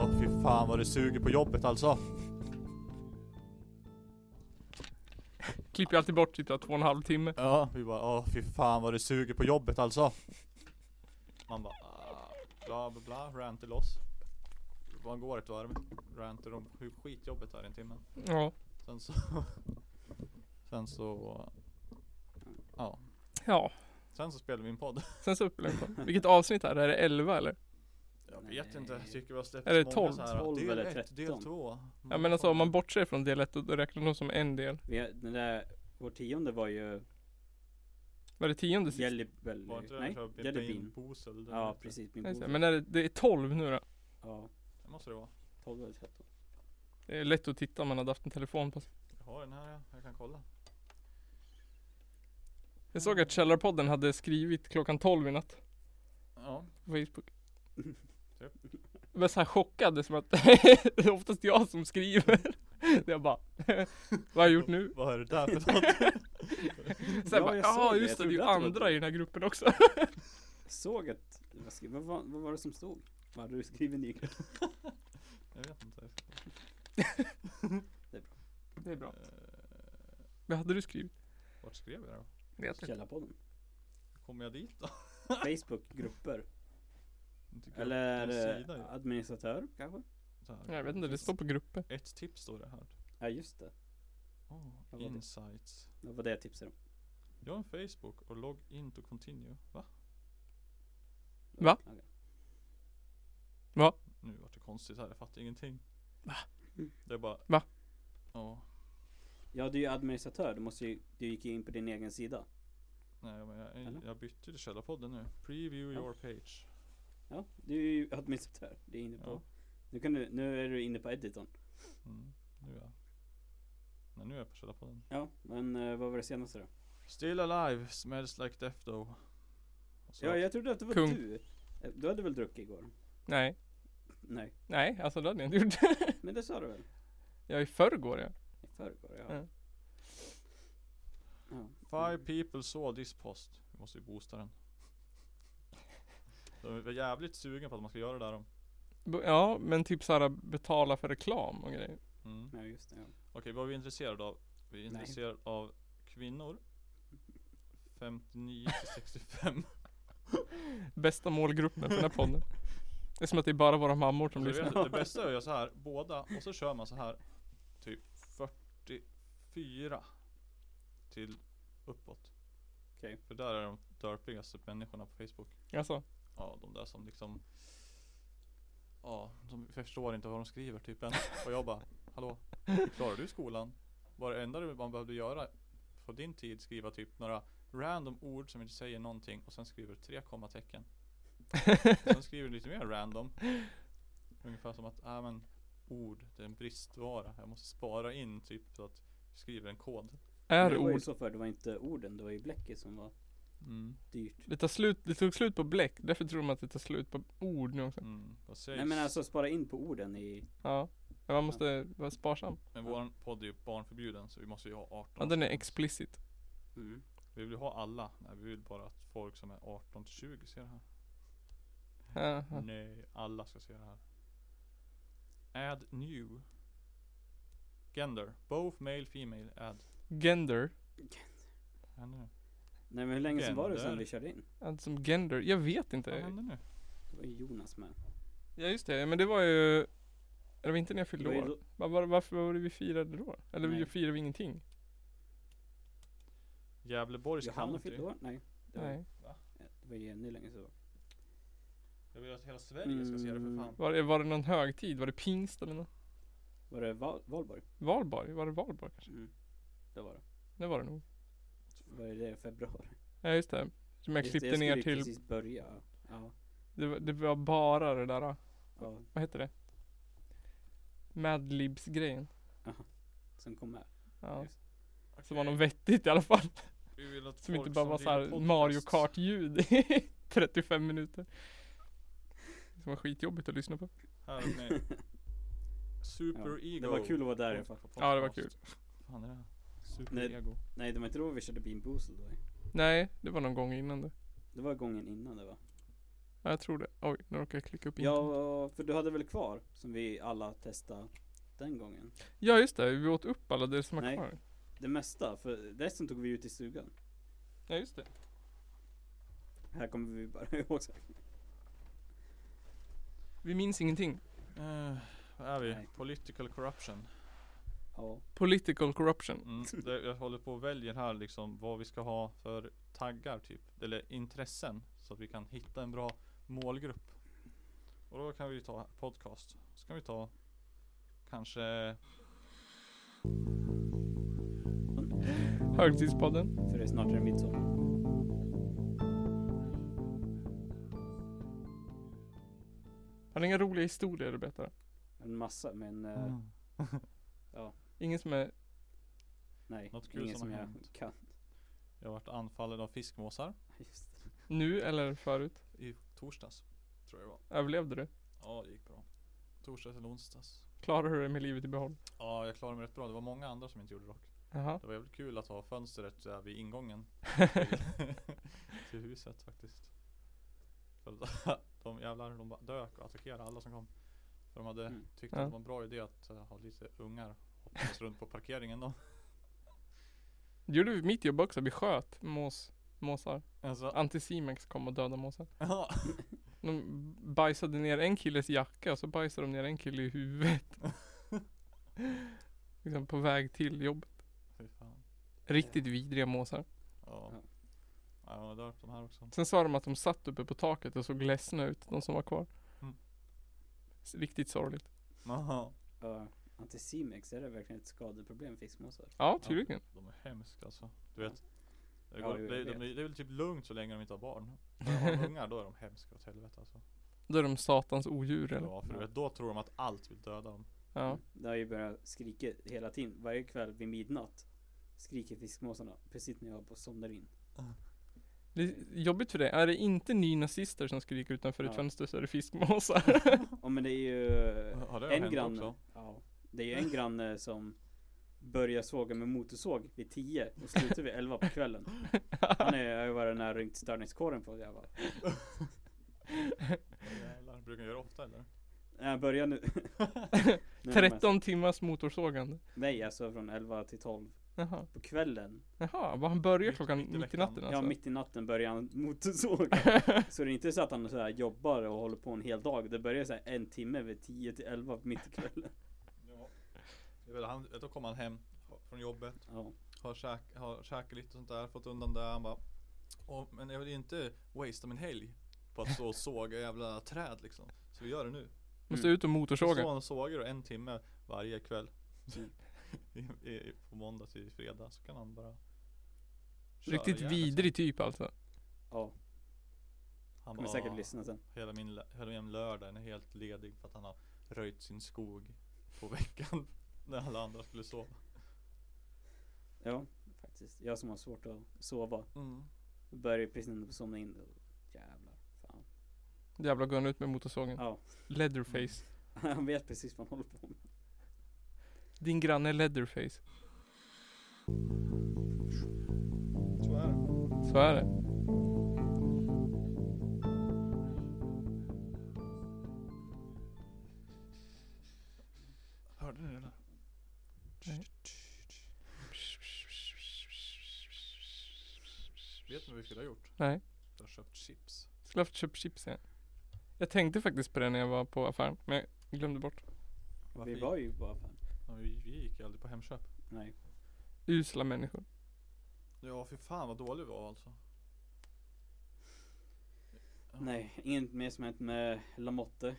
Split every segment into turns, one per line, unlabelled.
Åh fy fan vad det suger på jobbet alltså.
Klipper ju alltid bort typ så här två och en halv timme.
Ja, vi bara åh fy fan vad det suger på jobbet alltså. Man bara ah, bla bla bla, rantar loss. Man går ett varv, rantar om hur skitjobbet är i en timme.
Ja.
Sen så... sen så... Ja.
Ja.
Sen så spelade vi en podd.
Sen så upp den. Vilket avsnitt är det? Är det 11 eller?
Jag vet
Nej.
inte, jag tycker vi har släppt
Är det
så många
12?
så här,
12
del
eller
ett, Del
13?
2.
Ja men alltså om man bortser från del 1 då räknar de som en del.
Vi, har- den där, vår tionde var ju
Var det tionde sist?
Jellibelly.
Var inte det den
Nej,
som hette
Jellibin.
Bosel? den
Ja,
hette?
precis. Min
Just det,
bror.
Men är det, det är 12 nu då.
Ja,
Det måste det vara.
12 eller 13.
Det är lätt att titta om man hade haft en telefon på sig.
Jag har den här, ja. jag kan kolla.
Jag såg att Källarpodden hade skrivit klockan 12 i natt.
Ja,
På Facebook.
Japp.
Jag blev så här chockad som att det är oftast jag som skriver. Det jag bara, vad har jag gjort nu?
vad är det där för något?
Sen
Ja,
bara,
jag såg
ja
det.
just det,
Jag
det är ju
trodde att det var
andra
du."
i den här gruppen också.
Såg att, vad, skri- vad, var- vad var det som stod? Vad hade du skrivit ny?
jag vet inte.
Det är bra.
Eh,
Vad hade du skrivit?
vart skrev jag då?
Vet inte.
Källarpodden.
Kommer jag dit då?
Facebook, grupper.
Jag tycker
Eller
jag har en sida
eh,
ju.
administratör kanske?
Så här.
Jag vet inte, det står på gruppen.
Ett tips står det här.
Ja, just det.
Oh,
Vad var det?
insights.
Det var det jag tipsade om.
Jag har en Facebook och log in to continue. Va?
Va?
Okej.
Nu vart det konstigt här, jag fattar ingenting.
Va?
Det är bara...
Va?
Ja.
Ja, du är ju administratör. Du måste ju, du gick ju in på din egen sida.
Nej men jag,
Eller?
jag bytte till källarpodden nu. Preview
Ja.
your page.
Ja, du är ju administratör. Det är inne på.
Ja.
Nu, kan du, nu är du inne på editorn.
Mm, nu är jag... Nej nu är jag på källarpodden.
Ja, men eh, vad var det senaste då?
Still alive, smells like death though. Och så-
Ja, jag trodde att det var
Kung.
du. Eh, Du hade väl druckit igår?
Nej,
Nej,
nej alltså det hade jag inte gjort.
men det sa du väl?
Jag i förrgår ja.
I förrgår, ja.
Ja.
ja.
Five people saw this post. Vi måste ju boosta den. De var jävligt sugen på att man ska göra det där. de.
B- Ja men typ såhär betala för reklam och grejer.
Mm.
Ja, just det. Ja.
Okej, vad är vi intresserade av? Vi är
Nej.
intresserade av kvinnor. 59 till 65.
Bästa målgruppen för den här podden. Det är som att det är bara våra mammor som
Som vet,
lyssnar.
det bästa är att göra så här, båda, och så kör man så här typ 44 till uppåt.
Okej.
För där är de dörpligaste människorna på Facebook.
Alltså,
Ja, de där som liksom Ja, de förstår inte vad de skriver typ än. Och jag bara, hallå, klarar du skolan? Var det enda du- man behövde göra på din tid skriva typ några random ord som inte säger någonting och sen skriver du tre kommatecken. Sen skriver du lite mer random. Ungefär som att, äh, men ord, det är en bristvara. Jag måste spara in typ så att jag skriver en kod.
Men
är
det
det
var ju
ord.
så för det var inte orden, det var ju bläcket som var
Mm.
dyrt.
Det, tar slut, det tog slut på bläck, därför tror man att det tar slut på ord nu också.
Mm. Vad sägs?
Nej men alltså spara in på orden i...
Ja, men man måste vara sparsam.
Men våran podd är ju barnförbjuden så vi måste ju ha 18
Ja, den är
årsgräns.
explicit.
Mm.
Vi vill ju ha alla. Nej, vi vill bara att folk som är 18 till 20 ser det här.
Ja, ja.
Nej, alla ska se det här. Add new. Gender. Both male, female. Add.
Gender.
Vad händer nu?
Nej men hur länge sedan var det
Gender.
sedan vi körde in?
Alltså som gender. Jag vet
Vad
inte.
händer nu?
Det var ju Jonas med.
Ja just det, men det var ju Det var inte när jag
Det
fyllde
var ju
år.
då-
Var, var, varför var det vi firade då? Eller vi
Nej.
firade vi ingenting?
Gävleborgs
Johanna
county.
fyllde år? Nej. Det var,
Nej.
det var ju ännu länge sedan.
Jag vill att hela Sverige ska se det för
Mm.
fan.
Var det, var det någon högtid? Var det pingst eller något?
Var det Val- Valborg?
Valborg? Var det valborg kanske?
Mm. Det var det.
Det var det nog.
Var det det i februari?
Ja just det. Som jag
Just det,
klippte
skulle
ner
ju
till,
precis börja. Ja.
det, var- det var bara det där,
ja.
vad hette det? Madlibs grejen.
Som kom med.
Ja.
Just.
Mm. Som var något vettigt i alla fall.
Vi vill att
Som inte
folk
bara var
som driver
såhär
podcast-
Mario Kart ljud i 35 minuter. Som var skitjobbigt att lyssna på.
Här har ni. Super Ego.
Det var kul att vara där i alla fall.
Podcast.
Ja, det var kul.
Fan är det här? Super
Nej.
Ego.
Nej det var inte då vi körde Bean Boozled då.
Nej, det var någon gång innan det.
Det var gången innan det va?
Ja, jag tror det. Oj, nu råkade jag klicka upp internet.
Ja, för du hade väl kvar som vi alla testade den gången?
Ja, just det. Vi åt upp alla det som var
Nej.
kvar.
Det mesta, för resten tog vi ut i stugan.
Ja, just det.
Här kommer vi bara ihåg. så här.
Vi minns ingenting.
Eh, vad är vi?
Nej.
Political corruption.
Ja,
Political corruption.
Mm. Det, jag håller på och väljer här liksom vad vi ska ha för taggar typ. Eller intressen. Så att vi kan hitta en bra målgrupp. Och då kan vi ta podcast. Så kan vi ta kanske eh,
Högtidspodden.
för det är snart är det midsommar.
Har ni inga roliga historier att berätta?
En massa, men eh,
Ah.
Ingen som är...
nej.
Något kul
ingen
som
som
har
jag
hänt.
kan.
jag varit anfallen av fiskmåsar
Just det.
Nu eller förut?
i torsdags. Tror jag det var.
Överlevde du?
Ja det gick bra. Torsdags eller onsdags.
Klarar du dig med livet i behåll?
Ja jag klarade mig rätt bra. Det var många andra som inte gjorde dock.
Jaha.
Det var jävligt kul att ha fönstret där vid ingången till huset faktiskt. För att de jävlar, de bara dök och attackerade alla som kom. För de hade
Mm.
tyckt
Ja.
att det var en bra idé att eh, ha lite ungar hoppandes runt på parkeringen då.
Det gjorde vi mitt jobb också. Vi sköt mås, måsar.
Alltså,
Anticimex kom och dödade måsar.
ja.
De bajsade ner en killes jacka och så bajsade de ner en kille i huvudet. liksom på väg till jobbet.
Fy fan.
Riktigt vidriga måsar.
Ja.
Ja.
Ja, de har döpt de här också.
Sen sa de att de satt uppe på taket och såg ledsna ut, de som var kvar.
Mm.
S- Riktigt sorgligt.
Ja,
Ja, Anticimex, är det verkligen ett skadeproblem fiskmåsar?
Ja, tydligen.
de är hemska alltså. Du vet. Det,
Ja,
går,
jag
det,
vet.
det, det är väl typ lugnt så länge de inte har barn. När de har ungar då är de hemska åt helvete alltså.
Då är de satans odjur eller?
Ja, för du
Ja.
vet, då tror de att allt vill döda dem.
Ja.
Mm. Det har ju börjat skrika hela tiden. Varje kväll vid midnatt skriker fiskmåsarna precis när jag håller på och somnar in.
Det är jobbigt för dig. Är det inte nynazister som skriker utanför ditt
Ja.
fönster så är det fiskmåsar.
Ja men det är ju
Har det
Eh, en
hänt
granne.
också?
Ja, det är ju en granne som börjar såga med motorsåg vid 10 och slutar vid 11 på kvällen. Han är, jag har ju varit nära ringt störningskåren på jävla.
Jävlar, brukar ni göra ofta eller?
Nej jag börjar nu. Nu är det mest-
13 timmars motorsågande.
Nej alltså från 11 till 12
Jaha.
på kvällen.
Jaha, vad han börjar
Mitt-
klockan
mitt i
mitt i
veckan.
natten
Ja
alltså?
mitt i natten börjar han motorsåg. Så det är inte så att han så här jobbar och håller på en hel dag. Det börjar så här en timme vid 10 till 11 mitt i kvällen.
Ja. Jag vet, han, då kommer han hem från jobbet,
Ja.
har, käk, har käkat lite och sånt där, fått undan det. Han bara "Åh, men jag vill inte wastea min helg på att stå och såga jävla träd liksom. Så vi gör det nu.
Måste ut och
Så står
motorsåga.
han och sågar och en timme varje kväll.
Mm.
I, i, på måndag till fredag så kan han bara köra
Riktigt
ihjäl,
vidrig typ alltså.
Ja,
liksom. Han
kommer
bara,
säkert
"Ah,
lyssna sen.
hela min, lö- hela min lördag den är helt ledig för att han har röjt sin skog på veckan när alla andra skulle sova.
Ja, faktiskt. Jag som har svårt att sova.
Mm.
Börjar precis när jag somnar in. Jävlar. Fan.
Jävlar går han ut med motorsågen.
Ja,
Leatherface.
han vet precis vad han håller på med.
Din granne Leatherface.
Så är det.
Så är det.
Hörde ni det där? Vet ni vad vi skulle ha gjort?
Nej.
Vi har köpt chips.
Skulle haft köpt chips igen. Jag tänkte faktiskt på det när jag var på affären. Men jag glömde bort.
Varför
Vi
gick-
var ju bara fan.
Ja, vi, vi gick ju aldrig på Hemköp.
Nej.
Usla människor.
Ja, för fan vad dålig vi var alltså. Ja.
Nej, inget mer som hänt med Lamotte.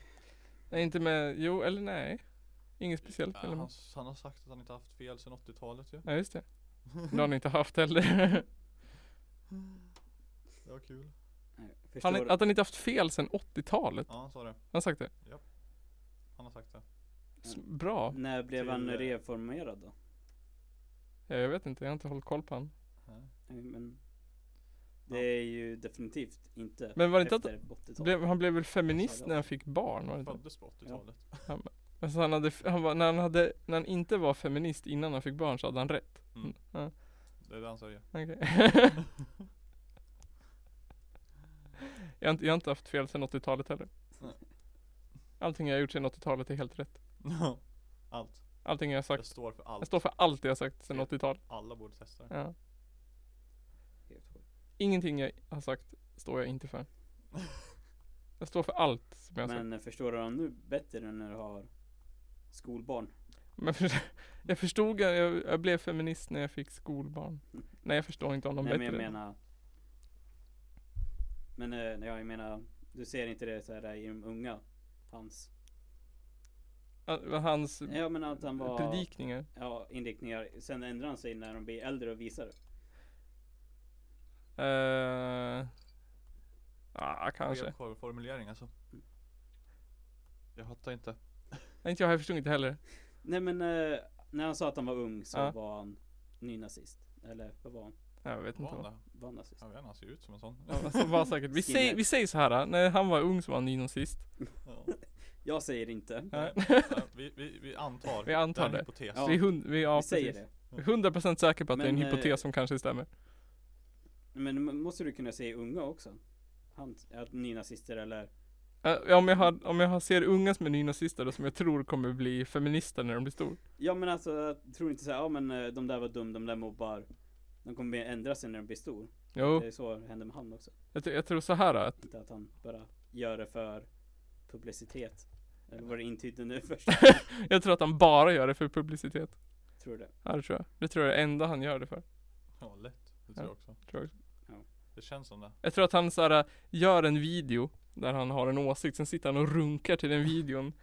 Nej inte med, jo eller nej. Inget speciellt
Ja,
eller
han,
med.
han har sagt att han inte haft fel sedan 80-talet ju.
Ja just det. Det har ni inte haft heller.
Det var kul.
Nej, Förstår
Han, alltså,
du?
att han inte haft fel sedan 80-talet.
Ja, han sa det.
Han har sagt det.
Han har sagt det.
S- Bra.
När blev
till,
han
eh,
reformerad då?
Ja, jag vet inte, jag har inte hållit koll på han.
Nej.
Nej, Men
Ja.
det är ju definitivt inte
Men var det inte att-
efter 80-talet.
Blev, han blev väl
Sa
feminist
det
när han fick barn var det inte?
Föddes på 80-talet.
Alltså han hade, f- han var, när han hade, när han inte var feminist innan han fick barn så hade han rätt.
Mm.
Ja,
Det är det han säger.
okej. Jag har, inte, jag har inte haft fel sedan 80-talet heller.
Nej.
Allting jag har gjort sedan 80-talet är helt rätt.
Allt.
Allting jag har
Jag
sagt.
står för
Jag
allt.
står för allt jag har sagt sedan
Ja.
80-talet.
Alla borde testa det.
Ja.
Helt sjukt.
Ingenting jag har sagt står jag inte för. Jag står för allt som jag har sagt.
Men eh, förstår du dem nu bättre än när du har skolbarn?
Men för, jag förstod, jag, jag blev feminist när jag fick skolbarn. Nej jag förstår inte om de
Nej men
bättre.
jag menar Men eh, nej, jag menar Du ser inte det så här i de unga Hans
Ah, vad Hans
Nej, Jag menar att han var
predikningar.
Ja inriktningar Sen ändrar han sig när de blir äldre och visar det
Eh, ah, kanske.
Skev formulering alltså. Jag hattar inte.
Nej, Inte jag, jag förstod inte heller.
Nej men eh, När han sa att han var ung så
Ja.
var han Nynazist Eller vad var han?
Nej, Jag vet inte
Var
vad.
han det?
Var han nazist?
Jag vet inte, han ser ut som en sån.
Ja, alltså, var säkert. Vi, säger, vi säger så här, ah, när han var ung så var han nynazist.
Ja.
Jag säger inte
Nej.
Nej, Vi, vi, vi antar.
Vi
det.
antar det.
är en hypotes.
Ja.
Vi är hund, vi, ja,
Vi säger
precis.
det
Vi är 100% säker på att det är en
Men, eh,
hypotes som kanske stämmer.
Men m- måste du kunna säga unga också? Han, att nynazister eller
Eh, ja, om, jag har, om jag har- ser unga som är nynazister och som jag tror kommer bli feminister när de blir stor.
Ja men alltså jag tror inte såhär, ja men eh, de där var dum, de där mobbar De kommer bli- ändra sig när de blir stor
Jo,
Det är så det händer med han också
jag, tr- jag tror så här att
Inte att han bara gör det för publicitet Eller vad det intydde nu först
Jag tror att han bara gör det för publicitet.
Tror det
Ja, det tror jag. Det tror jag är det enda han gör det för.
Ja, lätt. Det tror jag också.
Tror jag, också.
Det känns som det.
jag tror att han så här, äh, gör en video där han har en åsikt, sen sitter han och runkar till den videon.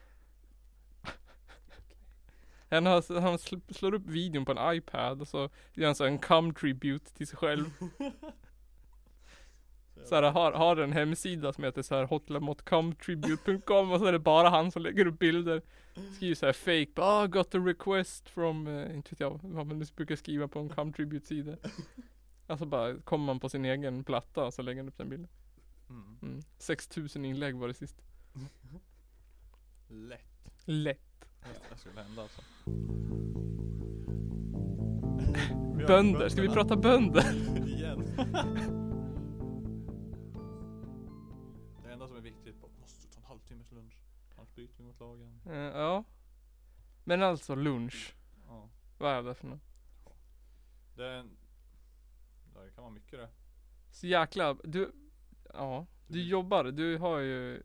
Han, har, han sl- slår upp videon på en iPad och så gör han så här en come-tribute till sig själv. Så här, har, har en hemsida som heter så här hotlamotcomtribute.com och så är det bara han som lägger upp bilder. Skriver så här fake, ah got a request from, eh, inte vet jag vad man nu brukar skriva på en comtribute-sida. Alltså bara kommer man på sin egen platta och så lägger han upp den bilden.
Mm.
Mm. 6000 inlägg var det sist.
Lätt.
Lätt.
Det här skulle hända alltså.
Bönder, ska vi prata bönder?
igen? Det enda som är viktigt är att måste ta en halvtimmes lunch. Annars bryter vi mot lagen.
Eh, ja. Men alltså lunch.
Ja.
Vad är det för något?
Det, är en... ja, det kan vara mycket det.
Så jäkla, du, ja. Du jobbar, du har ju,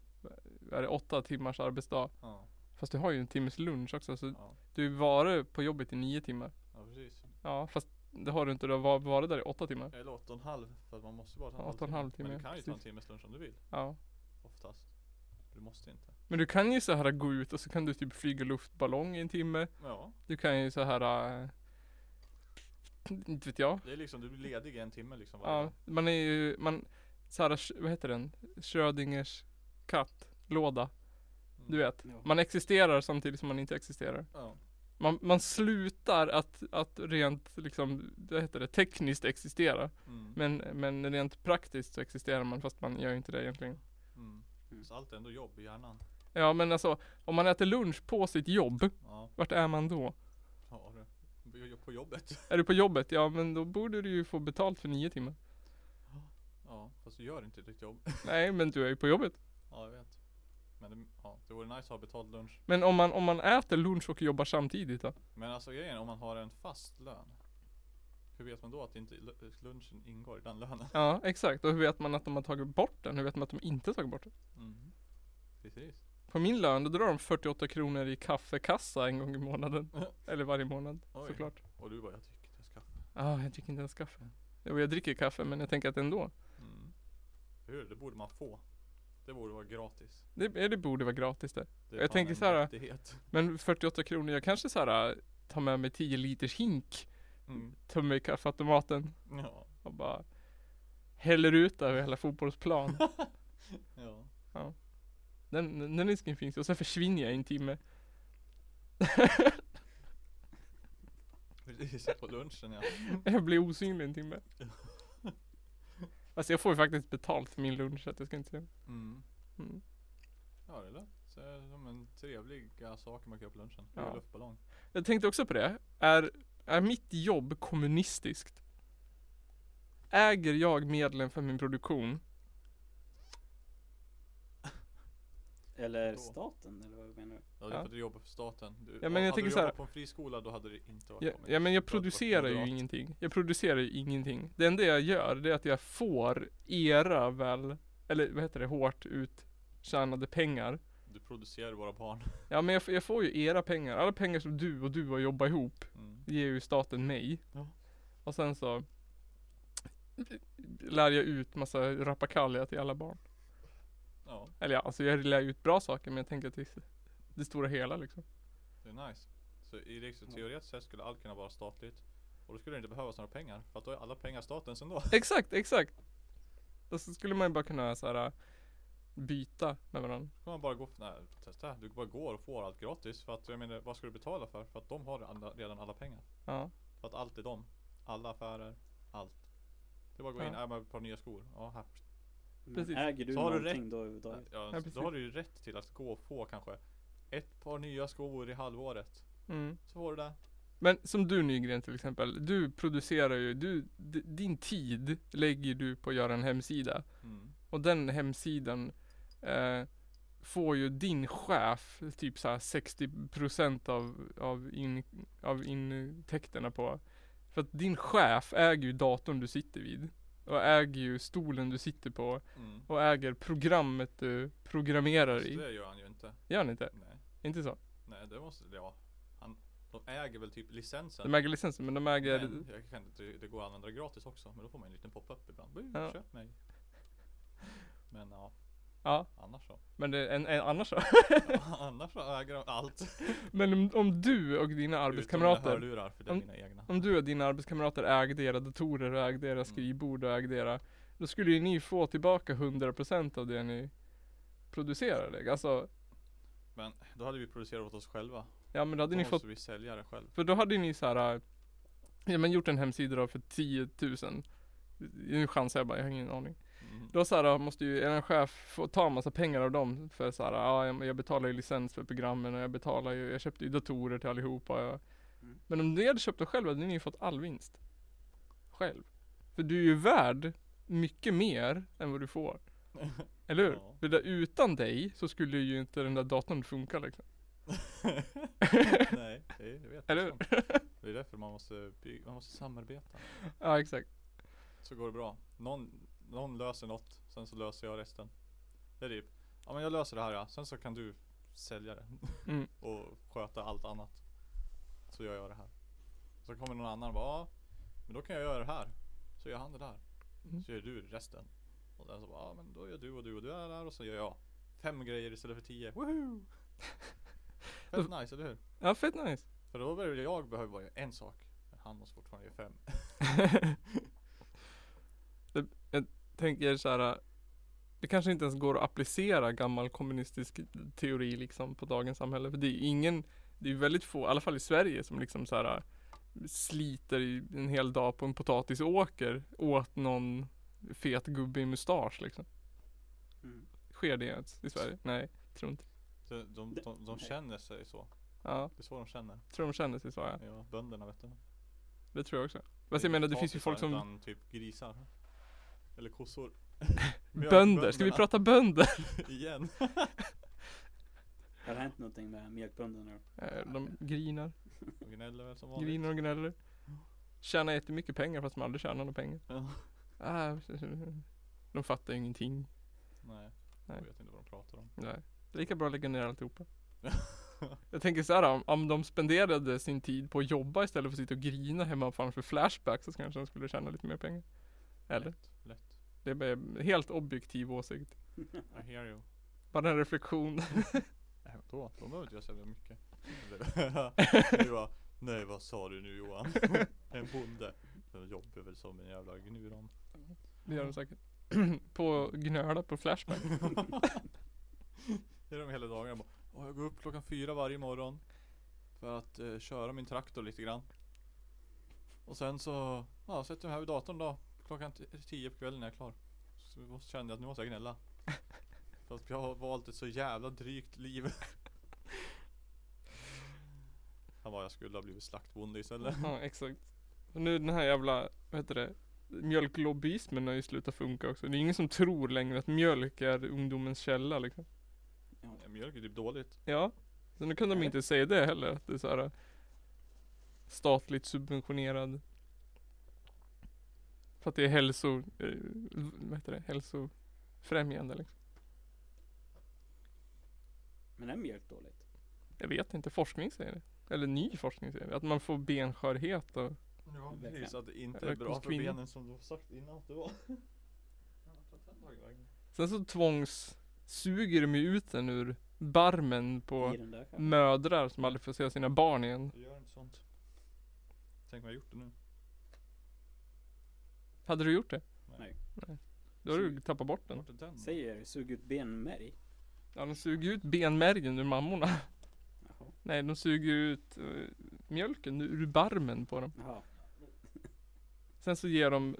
vad är det åtta timmars arbetsdag?
Ja,
Fast du har ju en timmes lunch också så
ja,
du är vare på jobbet i nio timmar.
ja precis.
Ja fast det har du inte, du har va- varit där i åtta timmar.
Eller åtta och en halv för att man måste bara ta
Ja, åtta och en halv timme,
Men du kan ju ta en
precis.
timmes lunch om du vill.
Ja.
Oftast. Du måste inte.
Men du kan ju så här gå ut och så kan du typ flyga luftballong i en timme.
Men ja,
Du kan ju så här eh, inte vet jag.
det är liksom du blir ledig i en timme liksom varje
Ja,
dag.
man är ju, man, så här, sh- vad heter den? Schrödingers katt, låda.
Mm.
Du vet.
ja.
Man existerar samtidigt som man inte existerar.
Ja.
Man, man slutar att, att rent liksom, vad heter det, tekniskt existera.
Mm.
Men, men rent praktiskt så existerar man fast man gör ju inte det egentligen.
Mm.
Mm.
Så allt är ändå jobb i hjärnan.
Ja men alltså, om man äter lunch på sitt jobb,
Ja,
vart är man då?
ja du. Vi gör På jobbet.
Är du på jobbet? Ja men då borde du ju få betalt för nio timmar.
Ja, fast du gör inte ditt jobb.
Nej men du är ju på jobbet.
Ja, jag vet. Men det, ja, det vore nice att ha betald lunch.
Men om man, om man äter lunch och jobbar samtidigt då?
Men alltså grejen är, om man har en fast lön. Hur vet man då att inte l- lunchen ingår i den lönen?
Ja exakt, och hur vet man att de har tagit bort den? Hur vet man att de inte har tagit bort den?
Mm. Precis.
På min lön då drar de 48 kronor i kaffekassa en gång i månaden. Eller varje månad
Oj.
såklart.
Och du bara, jag tycker det ska.
Ah, jag dricker inte ens kaffe. Jo jag dricker kaffe men jag tänker att ändå.
Mm. Hur? Det borde man få. Det borde vara gratis.
Det, det borde vara gratis det.
Det
Jag
fan
tänker
en
så här-
rättighet.
Men 48 kronor, jag kanske så här äh, tar med mig 10 liters hink,
Mm.
tar med kaffeautomaten
Ja.
och bara häller ut över hela fotbollsplan.
ja.
Den, den- den risken finns och sen försvinner jag i en timme.
Precis, på lunchen ja.
Jag blir osynlig en timme. Alltså jag får ju faktiskt betalt för min lunch så att jag ska inte säga.
Mm.
Mm.
Ja det lät så här som en trevliga saker man kan göra på lunchen.
Ja.
Ja. Luftballong.
Jag tänkte också på det. Är, är mitt jobb kommunistiskt? Äger jag medlen för min produktion?
Eller
Då.
staten eller vad menar du?
Ja, det är
Ja.
för att du jobbar för staten. Du,
Ja, men
hade
jag
du
tänker
jobbat
så här-
på en friskola då hade det inte varit
Ja,
kommit.
ja men jag
För att vara
producerar ju
moderat.
ingenting. Jag producerar ju ingenting. Det enda jag gör det är att jag får era väl, eller vad heter det, hårt uttjänade pengar.
Du producerar våra barn.
Ja men jag, f- jag får ju era pengar. Alla pengar som du och du har jobbat ihop
Mm.
ger ju staten mig.
Ja.
Och sen så lär jag ut massa rappakalja till alla barn.
Ja,
Eller ja, alltså jag lär ut bra saker men jag tänker att det är det stora hela liksom.
det är nice. Så i riksdagen teoretiskt sett skulle allt kunna vara statligt. Och då skulle det inte behövas några pengar. För att då är alla pengar statens ändå.
Exakt, exakt! Och så skulle man ju bara kunna så här äh, byta med varandra.
Då kan man bara gå, nej, testa. Du bara går och får allt gratis. För att jag menar, vad ska du betala för? För att de har alla, redan alla pengar.
Ja,
För att allt är dem. Alla affärer, allt. Det är bara att gå in,
Ja.
ja. man ett par nya skor. Ja, här.
Men
Precis.
Äger du
Så har du
någonting då överhuvudtaget?
Ja,
precis.
då har du ju rätt till att gå och få kanske ett par nya skor i halvåret.
mm.
Så får du det.
Men som du Nygren till exempel, du producerar ju, du, d- din tid lägger du på att göra en hemsida.
Mm.
Och den hemsidan eh, får ju din chef typ såhär 60% av, av, in, av intäkterna på. För att din chef äger ju datorn du sitter vid. Och äger ju stolen du sitter på.
Mm.
Och äger programmet du programmerar
Fast
i.
det gör han ju inte.
Gör han inte?
Nej,
Inte så?
nej det måste, ja. Han, de äger väl typ licensen.
De äger licensen men de äger
men jag kan inte, det går att använda det gratis också. Men då får man en liten pop-up ibland. Bu,
Ja.
Köp mig. Men ja,
Ja,
annars så.
men det, en, en, annars så.
Ja, annars så äger de allt.
Men om, om du och dina
Utom mina
arbetskamrater
hörlurar, för det är
Om-
mina egna.
Om du och dina arbetskamrater ägde era datorer och ägde era skrivbord och ägde era Då skulle ju ni få tillbaka 100% av det ni producerade. Alltså,
Men då hade vi producerat åt oss själva.
ja men då hade
Då
ni
måste
fått
vi sälja det själv.
För då hade ni så här äh, Ja men gjort en hemsida då för 10 000 Nu chansar jag bara, jag har ingen aning
Mm.
Då så här, måste ju er chef få ta en massa pengar av dem för så här, ja jag- jag betalar ju licens för programmen och jag betalar ju, jag köpte ju datorer till allihopa. Jag.
Mm.
Men om ni hade köpt dem själva hade ni ju fått all vinst. Själv. För du är ju värd mycket mer än vad du får. Eller hur?
Ja.
För där, utan dig så skulle ju inte den där datorn funka liksom.
Nej, det det vet
Eller
jag. Det är därför man måste, bygga, man måste samarbeta.
Ja exakt.
Så går det bra. Någon, någon löser något, sen så löser jag resten. Det är typ, ja men jag löser det här ja, sen så kan du sälja det.
Mm.
och sköta allt annat. Så gör jag det här. Så kommer någon annan och bara, ja men då kan jag göra det här. Så gör han det där.
Mm.
Så gör du resten. Och sen så bara, ja men då gör du och du och du det där och så gör jag. Fem grejer istället för tio. Woohoo! Fett nice, eller hur?
Ja fett nice.
För då behöver jag behöver bara göra en sak. Men han måste fortfarande göra fem.
Det- jag tänker så här. Det kanske inte ens går att applicera gammal kommunistisk teori liksom på dagens samhälle. För det är ju ingen, det är ju väldigt få, i alla fall i Sverige, som liksom så här sliter i en hel dag på en potatisåker åt någon fet gubbe i mustasch liksom.
Mm.
Sker det ens i Sverige? Nej, tror inte.
De, de, de, de
Nej.
känner sig så.
Ja,
Det är så de känner.
tror de känner sig så ja.
Ja, bönderna vet du.
Det tror jag också. Fast jag menar det finns ju folk som
Utan typ grisar. Eller kossor.
bönder. Ska vi
Mjölkbönderna
prata bönder?
Igen.
Har det hänt någonting med mjölkbönderna då?
Eh, De grinar.
De gnäller väl som vanligt.
Griner och gnäller. Tjänar jättemycket pengar fast man aldrig tjänar några pengar.
Ja.
Ah, de fattar ju ingenting.
Nej.
Nej.
Jag vet inte vad de pratar om.
Nej. Lika bra att lägga ner alltihopa. Jag tänker så här, om, om de spenderade sin tid på att jobba istället för att sitta och grina hemma framför Flashback så kanske de skulle tjäna lite mer pengar. Eller?
Lätt. lätt.
Det är bara en helt objektiv åsikt.
I hear you.
Bara en reflektion.
Nej, vadå? De behöver inte göra så jävla mycket. Det- du bara, nej vad sa du nu Johan? en bonde. De jobbar väl som en jävla gnuran.
Det gör de säkert. på att gnöla på Flashback.
det är de hela dagarna bara. "Åh, jag går upp klockan fyra varje morgon. För att eh, köra min traktor lite grann. Och sen så ja, sätter jag mig här vid datorn då. Klockan t- tio på kvällen är jag klar. Så då kände jag att nu måste jag gnälla. För att jag har valt ett så jävla drygt liv. Han bara, jag skulle ha blivit slaktbonde istället.
Ja, exakt. Och nu den här jävla, vad heter det? Mjölklobbyismen har ju slutat funka också. Det är ingen som tror längre att mjölk är ungdomens källa liksom.
Ja, Mjölk är typ dåligt.
Ja. Så nu kan de inte säga det heller. Att det är så här äh, statligt subventionerad. För att det är hälso, eh, vad heter det, hälsofrämjande liksom.
Men är mjölk dåligt?
Jag vet inte, forskning säger det. Eller ny forskning säger det. Att man får benskörhet och
Ja
Verkligen.
precis, att det inte
Eller
är bra för
kvinna.
benen som du har sagt innan att det var. Ja, vad fan tog vägen?
Sen så tvångssuger de ju ut den ur barmen på
I den där kanske?
mödrar som aldrig får se sina barn igen.
Jag gör inte sånt. Tänk om jag gjort det nu.
Hade du gjort det?
Nej.
Nej. Då har du tappat bort den.
Vart är den?
Säger det, sug ut benmärg.
Ja, de suger ut benmärgen ur mammorna.
Jaha.
Nej, de suger ut eh, mjölken ur barmen på dem.
Jaha.
Sen så ger de eh,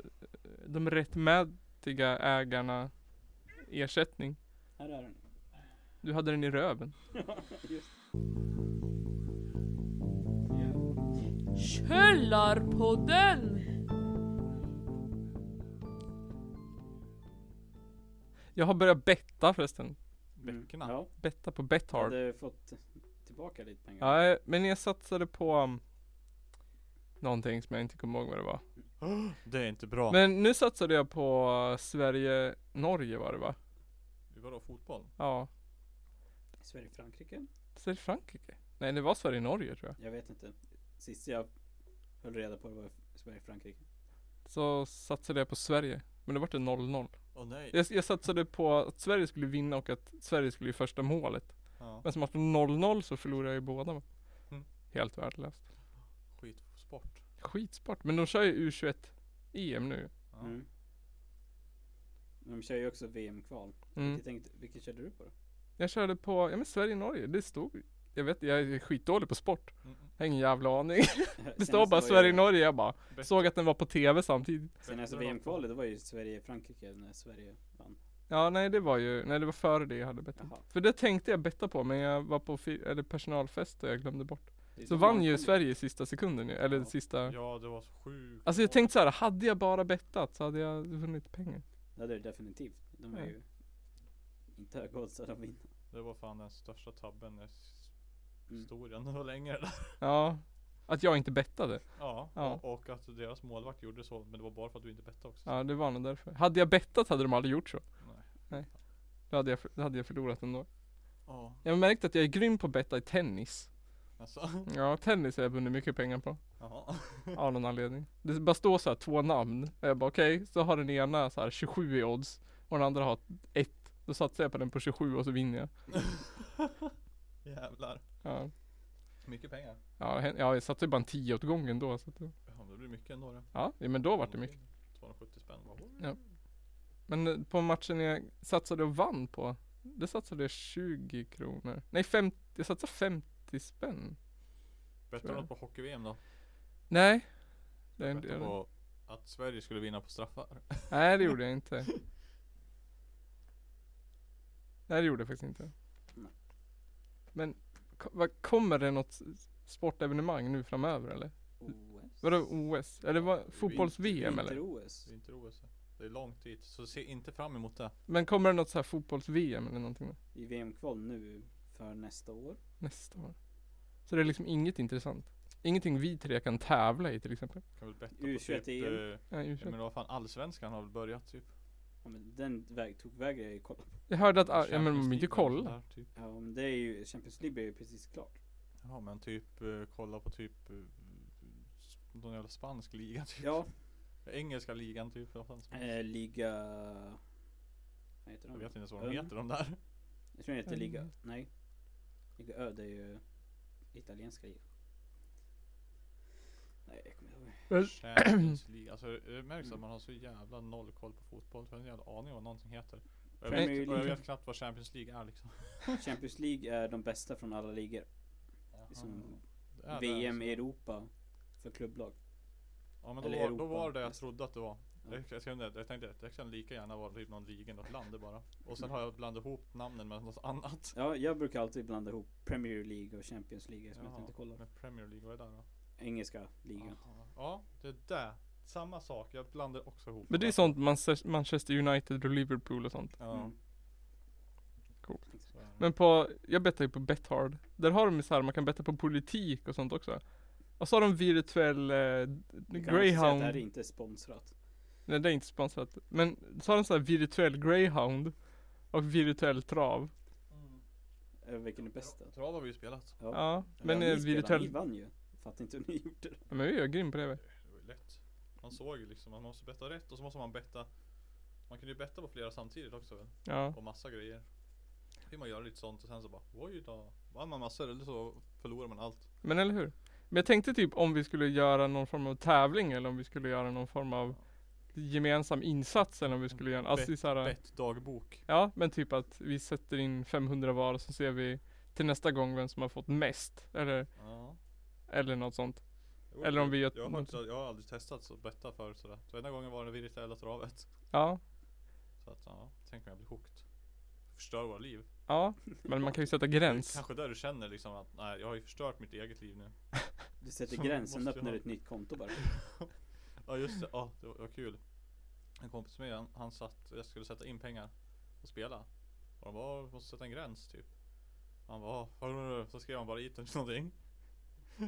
de rättmätiga ägarna ersättning.
Här är den.
Du hade den i röven.
Just.
Källarpodden!
Jag har börjat betta förresten.
Bäckerna.
Mm. Ja,
Betta på
jag
Bethard.
hade fått tillbaka lite pengar.
Nej, men jag satsade på um, någonting som jag inte kommer ihåg vad det var.
Det är inte bra.
Men nu satsade jag på uh, Sverige-Norge var det va?
Vi var då fotboll.
Ja.
Sverige-Frankrike?
Sverige-Frankrike? Nej, det var Sverige-Norge tror jag.
Jag vet inte. Sist jag höll reda på det var Sverige-Frankrike.
Så satsade jag på Sverige. Men det vart det 0-0.
Åh nej.
Jag, jag satsade på att Sverige skulle vinna och att Sverige skulle göra första målet.
Ja.
Men som att det var 0-0 så förlorade jag ju båda. va?
Mm.
Helt värdelöst.
Skitsport.
Skitsport. Men de kör ju U21-EM nu.
Ja.
Mm. Men de kör ju också VM-kval.
Mm.
Jag tänkte, vilket körde du på då?
Jag körde på, ja men Sverige-Norge. Det stod Jag vet, jag är skitdålig på sport.
Mm, mm.
Jag har ingen jävla aning. Det
Senaste
står
var
bara
ju-
Sverige-Norge. Jag bara
Bäst-
såg att den var på TV samtidigt.
Senaste
Bättre
VM-kvalet det var ju Sverige-Frankrike när Sverige vann.
Ja nej det var ju, nej det var före det jag hade bettat.
Jaha.
För det tänkte jag betta på men jag var på fi- eller personalfest och jag glömde bort.
Det är
Så vann ju Sverige i sista sekunden ju, eller
Ja.
sista
Ja det var så sjukt.
Alltså jag tänkte så här, hade jag bara bettat så hade jag vunnit pengar.
Ja det är det definitivt. De är
Ja.
ju inte höga odds att vinna.
Det var fan den största tabben i s-
Mm.
historien. Det var länge det där.
Ja. Att jag inte bettade.
Ja.
Ja.
Och, och att deras målvakt gjorde så. Men det var bara för att du inte bettade också.
Ja det var nog därför. Hade jag bettat hade de aldrig gjort så.
Nej.
Då hade jag, för- då hade jag förlorat ändå.
Ja.
Jag har märkt att jag är grym på att betta i tennis.
Alltså.
Ja tennis har jag vunnit mycket pengar på.
Jaha.
Av någon anledning. Det bara står så här två namn. Och jag bara okej, så har den ena så här 27 i odds. Och den andra har ett. Då satsar jag på den på 27 och så vinner jag.
Jävlar.
Ja,
Mycket pengar.
ja, hen- ja jag satsade ju bara en 10 åt gången då. Så att, det-
Ja men det blir mycket ändå det.
ja, ja, men då vart det mycket.
270 spänn. Bara, oj.
Ja. Men eh, på matchen jag satsade och vann på, det satsade jag 20 kronor. Nej, 50, jag satsade 50 spänn.
Bettade
Tror
du
jag.
något på hockey-VM då?
Nej. Det är en
Bettade
del.
på att Sverige skulle vinna på straffar.
Nej, det gjorde jag inte. Nej, det gjorde jag faktiskt inte.
Nej.
Men ko- vad- kommer det något s- sportevenemang nu framöver eller?
OS?
Vadå OS? Eller
Ja,
vad, fotbolls-VM eller?
Vinter-OS?
Det är inte OS. Det är långt dit. Så se inte fram emot det.
Men kommer det något så här fotbolls-VM eller någonting då?
I VM-kval nu för nästa år.
nästa år? Så det är liksom inget intressant? Ingenting vi tre kan tävla i till exempel?
Kan väl betta på
U21
typ.
EM.
eh,
Ja,
Ja,
ursäkta.
men vad fan allsvenskan har väl börjat typ?
Ja, men den väg, tog väg jag ju kolla på.
Jag hörde att, ah, ja,
Champions
men man
League
vill ju
och sånt
kolla.
där, typ.
Ja men det är ju, Champions League är ju precis klart.
Ja men typ eh, kolla på typ eh, s- någon jävla spansk liga typ.
Ja,
Engelska ligan typ. Vad fan som helst.
eh, liga... Vad heter
Jag
de?
vet
Jag,
inte ens vad de
Ung.
heter de där.
tror den heter
Mm.
Liga... Nej. Liga Ö, det är ju italienska ligan. Nej, jag kommer inte ihåg.
Champions League. Alltså det märks att man har så jävla noll koll på fotboll. Jag har en jävla aning vad någonting heter. Och Jag
Premier
vet, och jag
League.
vet knappt vad Champions League är liksom.
Champions League är de bästa från alla ligor. Som
Det är det,
VM
alltså.
i Europa för klubblag.
Ja men då
eller
var, då
Europa,
var det jag
mest.
trodde att det var.
Ja.
Jag, jag, kunde, jag tänkte att det kan lika gärna vara typ någon liga i något land det bara. Och sen har jag blandat ihop namnen med något annat.
Ja, jag brukar alltid blanda ihop Premier League och Champions League som
Jaha,
jag inte kollar.
Men Premier League, vad är det där då?
Engelska ligan.
Aha. Ja, det är det. Samma sak, jag blandar också ihop.
Men det
dem.
är sånt Manchester Manchester United och Liverpool och sånt.
Ja,
Mm.
Coolt.
så är det.
Men på, jag bettar ju på Bethard. Där har de ju så här, man kan betta på politik och sånt också. Och så har de virtuell eh,
Vi kan också säga att
greyhound.
Det här är inte sponsrat.
Nej det är inte sponsrat. Men så har de så här virtuell greyhound. Och virtuell trav.
Eh, Vilken är bäst då?
Trav Mm. har vi ju spelat.
Ja.
Ja. Men
ni
eh,
spelar, Ni
virtuell.
vann ju. Fattar inte hur ni gjorde det.
Men vi är ju grym på det. vi.
Det var ju lätt. Man såg ju liksom, man måste betta rätt och så måste man betta. Man kunde ju betta på flera samtidigt också väl?
Ja.
På massa grejer. Fick man göra lite sånt och sen så bara oj då. Vann man massor eller så förlorar man allt.
Men eller hur? Men jag tänkte typ om vi skulle göra någon form av tävling eller om vi skulle göra någon form av gemensam insats eller om vi skulle göra alltså, det är så här,
Bettdagbok.
Ja men typ att vi sätter in 500 var och så ser vi till nästa gång vem som har fått mest eller,
Ja.
eller något sånt.
Jo,
Eller om vi gör-
jag, har inte, jag har aldrig testat så betta förut sådär. Så ena gången var det virtuella travet.
Ja,
Så att ja, tänk om jag blir hooked. Förstör våra liv.
ja men man kan ju sätta
Det är
gräns.
kanske där du känner liksom att nej jag har ju förstört mitt eget liv nu.
Du sätter
Så
gränsen,
måste jag
öppnar
ha.
ett nytt konto bara.
Ja just det, ja det var, det var kul. En kompis med han, han satt, jag skulle sätta in pengar och spela. Och de bara, "Ja, vi måste sätta en gräns typ. Han bara, "Ja, har du några-" så skrev han bara hit någonting.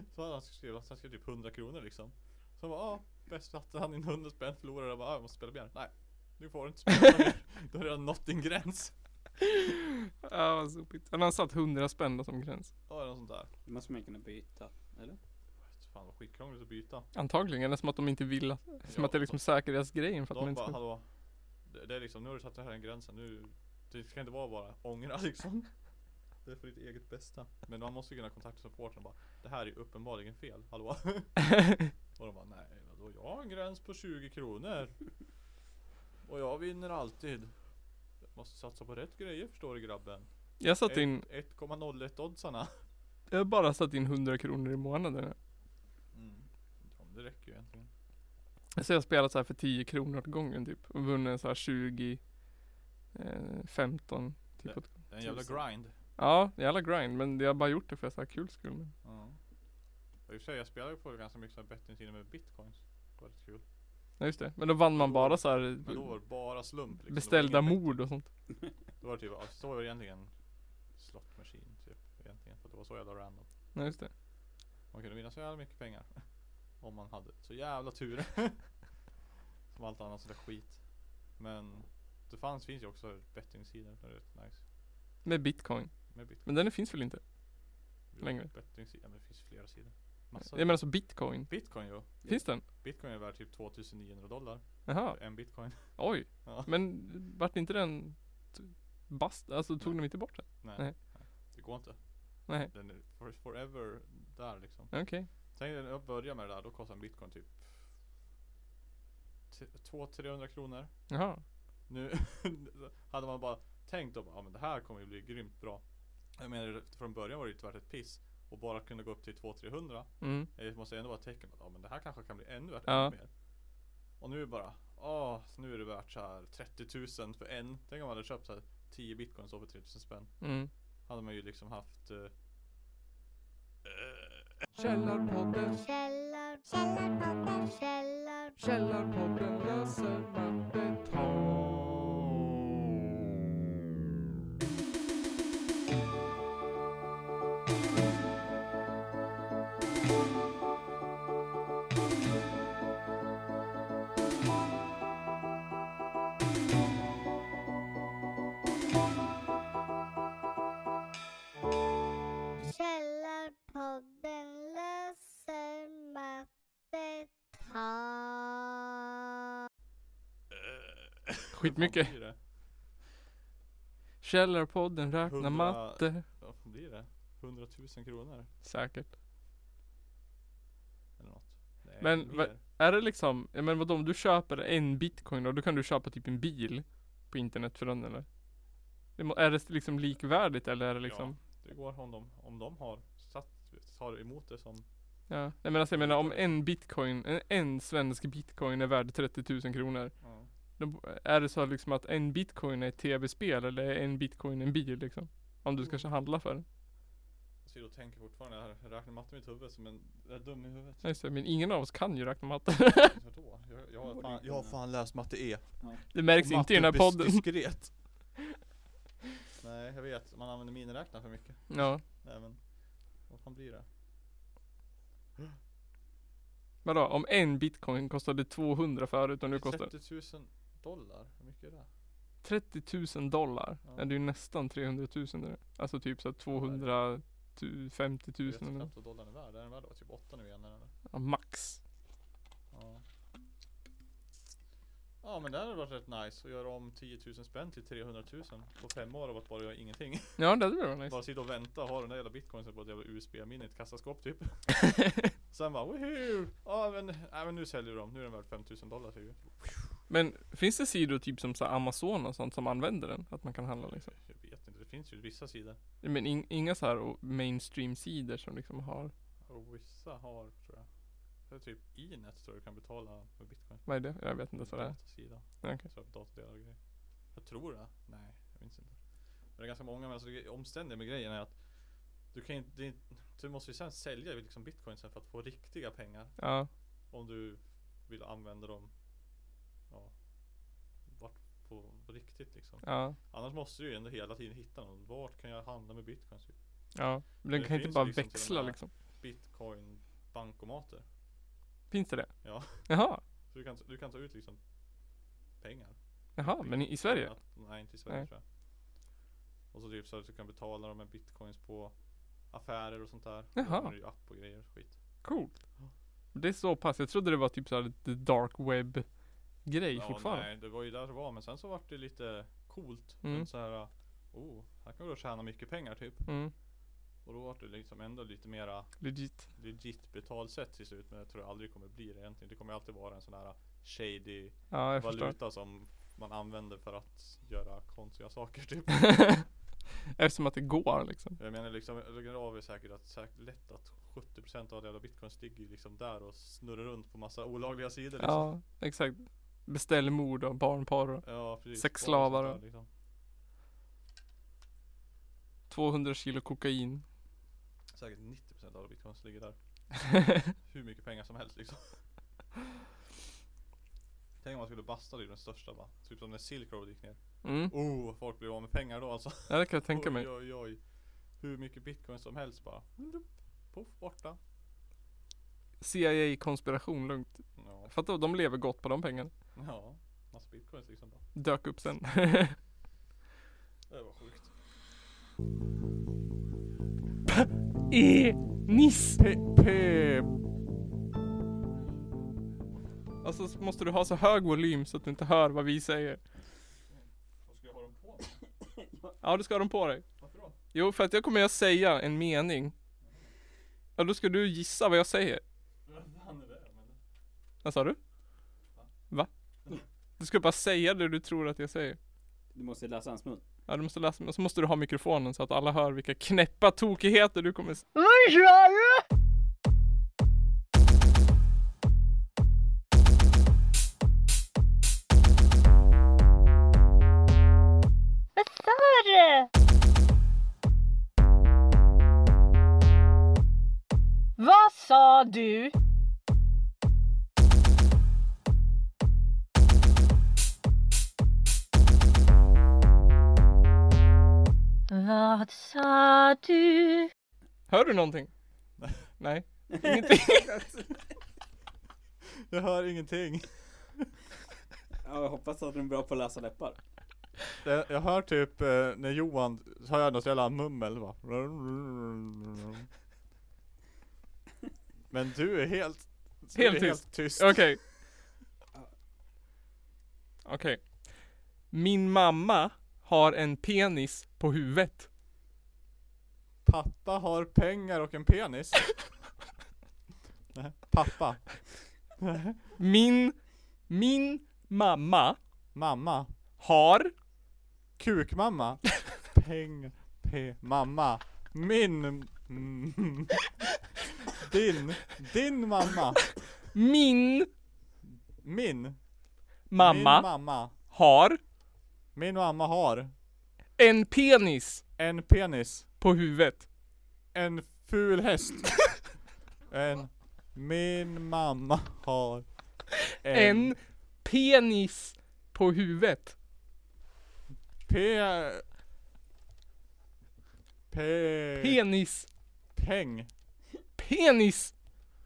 Så hade han skrivit, han skrev typ 100 kronor liksom. Så han bara, ja bäst satte han in 100 spänn, förlorade och bara, "Ja, jag måste spela mer. Nej, nu får du inte spela mer. Du har redan nått din gräns.
Ja vad sopigt. Han har satt 100 spänn då som gräns.
Ja eller något sånt där.
Det måste man kunna byta, eller?
Fan vad skitkrångligt att byta.
Antagligen, eller som att de inte vill att, som
Ja,
att det är liksom säkerhetsgrejen för att man
De
inte
bara,
ska...
hallå. Det, det är liksom, nu har du satt den här gränsen. Nu, det ska inte vara bara ångra liksom. Det är för ditt eget bästa. Men man måste ju kunna kontakta supporten och bara, det här är ju uppenbarligen fel, hallå? och de bara, nej vadå, jag har en gräns på 20 kronor. Och jag vinner alltid. Jag måste satsa på rätt grejer förstår du grabben.
Jag satt
Ett-
in,
1,01 oddsarna.
jag har bara satt in 100 kronor i månaden.
Mm. Ja, men det räcker ju egentligen.
Så jag har spelat så här för 10 kronor åt gången typ. Och vunnit så här 20, eh, 15 typ.
Det-
åt-
Det är en jävla
Tusen.
grind.
Ja, jävla grind. Men jag har bara gjort det för att jag har så här kul skull. men-
Ja. Och i och för sig, jag spelar ju på ganska mycket så här bettingsidor med bitcoins. Det var rätt kul.
Ja just det, men då vann man bara så här eh,
Men då var det bara slump liksom. Det var
beställda
ingen bet-
mord och sånt.
Då var det typ, alltså, så var det egentligen slot machine typ egentligen. För att det var så jävla random.
Nej just det.
Man kunde vinna så jävla mycket pengar. Om man hade så jävla tur. Som allt annat sådär skit. Men det fanns, finns ju också bettingsidor. Det är rätt nice.
Med bitcoin.
Med bitcoin.
Men den finns väl inte? längre.
Bettingsidor, men det finns flera sidor.
Jag
Massa.
menar alltså bitcoin.
Bitcoin jo.
Finns den?
Bitcoin är värd typ 2900 dollar.
Jaha,
En bitcoin.
oj.
Ja.
Men vart inte den t- bast, alltså tog
Nej.
de inte bort den?
Nej.
Nej.
Nej. Det går inte.
Nej,
Den är for, forever där liksom.
okej.
Tänk dig när jag började med det där, då kostade en bitcoin typ 200-300 kronor.
Jaha.
Nu hade man bara tänkt att ja, men det här kommer ju bli grymt bra. Jag menar från början var det ju tvärt ett piss. Och bara kunna gå upp till 200-300.
Mm.
Det måste ändå vara ett tecken på att ja, men det här kanske kan bli ännu värt
Ja.
ännu mer. Och nu är det bara, åh, nu är det värt så här 30 000 för en. Tänk om man hade köpt så här 10 bitcoins då för 3 000 spänn.
Mm.
Hade man ju liksom haft eh,
Källarpodden,
Källar, källarpodden, källar,
källarpodden läser
källarpodden löser mattetal.
Skitmycket.
Vad fan blir det?
Källarpodden räknar
Hundra-
matte.
Vad fan blir det? 100 000 kronor?
Säkert.
Eller något. Nej,
Men
mer.
vad- Är det liksom, ja men vadå om du köper en bitcoin då, då kan du köpa typ en bil på internet för den eller? Det må- Är det liksom likvärdigt eller är det liksom?
Det går om de, om de har satt, tar emot det som
Ja. Nej men alltså jag menar om en bitcoin, en, en svensk bitcoin är värd 30 000 kronor.
ja.
Då är det så liksom att en bitcoin är ett tv-spel eller är en bitcoin en bil liksom? Om du ska handla för den.
Jag sitter och tänker fortfarande, jag har- jag räknar matte i mitt huvud som en, jag är dum i huvudet.
Nej, så, men ingen av oss kan ju räkna matte.
Vadå? Jag, jag,
Borde
har fan,
kunna.
jag har fan läst matte E.
Det märks
Och
inte i den här
matte är
podden.
dis- Diskret. Nej. Nej jag vet, man använder miniräknaren för mycket.
Ja.
Nej men, vad fan blir det?
Vadå? Om en bitcoin kostade 200 förut och nu kostar
30 000 dollar, hur mycket är det?
30 000 dollar.
Ja.
Det är ju nästan 300 000 där. Alltså typ såhär 250
Jag
000
vet
eller nåt.
knappt vad dollarn är värd, är den värd då? typ 8 nu igen eller?
ja, max.
Ja. Ja men det hade varit rätt nice att göra om 10 000 spänn till 300 000 på fem år av att bara göra ingenting.
Ja det hade väl varit nice.
Bara sitta och vänta och ha den där jävla bitcoinsen på ett jävla USB-minne i ett kassaskåp typ. Sen bara woho! Ja men, nej, men nu säljer du dem, nu är den värd 5000 dollar typ.
Men finns det sidor typ som så här Amazon och sånt som använder den? Att man kan handla liksom?
Jag vet inte, det finns ju vissa sidor.
Men in, inga så här o- mainstream-sidor som liksom har,
Och vissa har tror jag. Det är typ Inet tror jag du kan betala med bitcoin.
vad är det? Jag vet inte så det är.
Datasida.
Ja, okej.
Så här datordelar och grejer. Jag tror det. Nej, jag minns inte. Men det är ganska många, men alltså det omständiga med grejen är att du kan ju inte, det är inte- du måste ju sen sälja liksom bitcoin sen för att få riktiga pengar.
Ja,
Om du vill använda dem Ja Vart på riktigt liksom
ja,
Annars måste du ju ändå hela tiden hitta någon Vart kan jag handla med bitcoin? Typ
ja. Men den
Det
kan inte
finns
bara
liksom till och
växla
med-
liksom.
Bitcoin bankomater
Finns det det?
Ja.
Jaha,
Så du kan, du kan ta ut liksom Pengar
jaha, men i, i Sverige?
Att, nej inte i Sverige
Nej.
tror jag Och så typ så att du kan betala dem med bitcoins på Affärer och sånt där
Jaha.
Och har ju app och grejer och skit
Coolt. Det är så pass, jag trodde det var typ såhär the dark web grej
Ja,
fortfarande.
Nej, det var ju där det var men sen så vart det lite coolt
Mm.
Men så här Oh, här kan du tjäna mycket pengar typ
Mm,
Och då var det liksom ändå lite mera
legit.
legit betalsätt till slut. Men jag tror det aldrig kommer bli det egentligen. Det kommer alltid vara en sån här shady
Ja, jag förstår.
valuta som man använder för att göra konstiga saker typ.
Eftersom att det går liksom.
jag menar liksom, Rav är säkert att säkert lätt att 70% av alla bitcoins ligger ju liksom där och snurrar runt på massa olagliga sidor. Liksom.
Ja, exakt. Beställ mord och barnporr och
Ja, precis.
Sexslavar
Bara
och-
sånt där, Liksom.
200 kilo kokain.
Säkert 90% av alla bitcoins ligger där. Hur mycket pengar som helst liksom. Tänk om man skulle basta det i den största bara. Typ som när Silk Road gick ner.
Mm,
Oh, folk blev av med pengar då alltså.
ja, det kan jag tänka
oj,
mig.
Oj, oj. Hur mycket bitcoin som helst bara. Blup, Poff, borta.
CIA-konspiration, lugnt.
Ja,
Fattar de lever gott på de pengarna.
ja. Massa bitcoins liksom bara.
Dök upp sen.
Det var sjukt.
e Niss! P. Alltså så måste du ha så hög volym så att du inte hör vad vi säger.
Vad ska jag ha dem på?
Ja, du ska ha dem på dig.
Varför då?
Jo, för att jag kommer jag säga en mening. Ja, då ska du gissa vad jag säger.
Vad fan är det? Men...
Vad sa du? Va? Du ska bara säga det du tror att jag säger.
Du måste läsa hans mun.
Ja, du måste läsa, och så måste du ha mikrofonen så att alla hör vilka knäppa tokigheter du kommer s-
Hörru!
Vad sa du? Vad sa du?
Hör du någonting? Nej. Ingenting.
Jag hör ingenting.
Ja, jag hoppas att den är bra på att läsa läppar.
Jag, jag hör typ eh, när Johan, så hör jag något jävla mummel va. Men du är helt, du
Helt
är helt tyst.
Okej. Okej. Min mamma har en penis på huvudet.
Pappa har pengar och en penis. Nej, pappa.
Min, min mamma
Mamma.
har
Kukmamma. Peng. P. Mamma. Min. Mm. Din. Din mamma.
min
Min. Min
mamma
mamma.
har
Min mamma har
en penis
en penis.
på huvudet.
En ful häst. En. Min mamma har
En penis på huvudet.
P. Pe-
Penis.
peng.
Penis.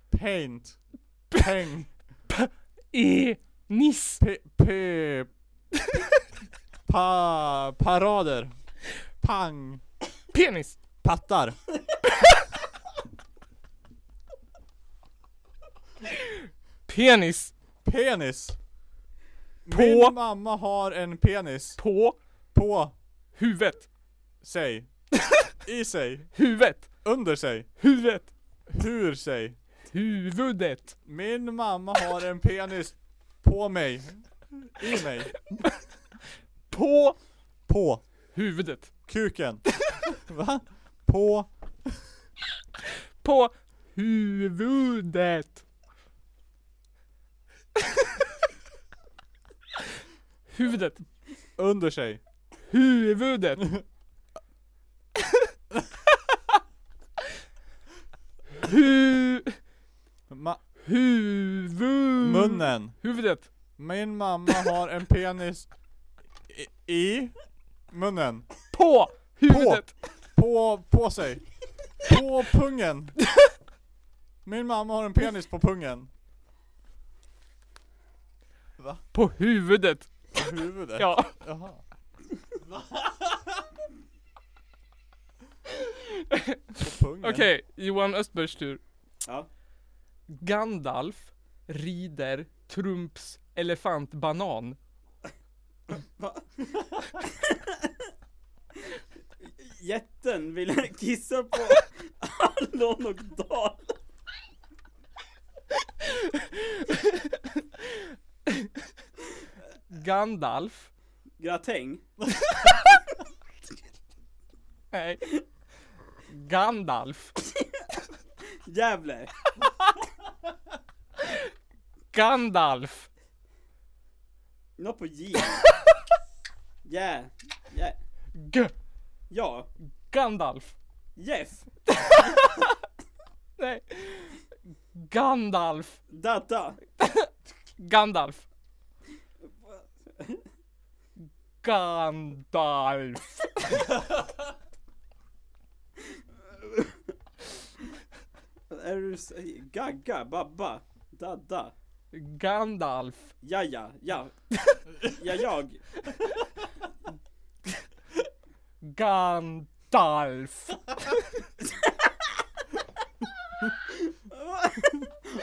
Paint. Peng.
E. Niss.
Pe- pe- pa- parader. Pang.
Penis.
Pattar.
Penis.
Penis.
På.
Min mamma har en penis.
På.
På
Huvudet.
sig. I sig.
Huvudet.
Under sig.
Huvudet.
Hur sig.
Huvudet.
Min mamma har en penis. På mig. I mig.
På.
På.
Huvudet.
Kuken. Va? På.
På. Huvudet. Huvudet.
Under sig.
Huvudet. Hu...
Ma-
Huvud...
munnen.
Huvudet.
Min mamma har en penis. I, i munnen.
På huvudet.
På, på sig. På pungen. Min mamma har en penis på pungen. Va?
På huvudet.
På huvudet?
Ja.
Jaha. På pungen?
Okej, Johan Östbergs tur.
Ja.
Gandalf rider Trumps elefantbanan.
Va? Jätten ville kissa på Allon och Dal.
Gandalf.
Gratäng.
Nej. Gandalf.
Gävle.
Gandalf.
Något på J. Jä. Jä.
G.
Ja.
Gandalf.
Jeff.
Nej. Gandalf.
Dada.
Gandalf. Gandalf.
Är du s- Gagga. Babba. Dada.
Gandalf.
Ja, ja, ja. Ja, jag.
Gandalf.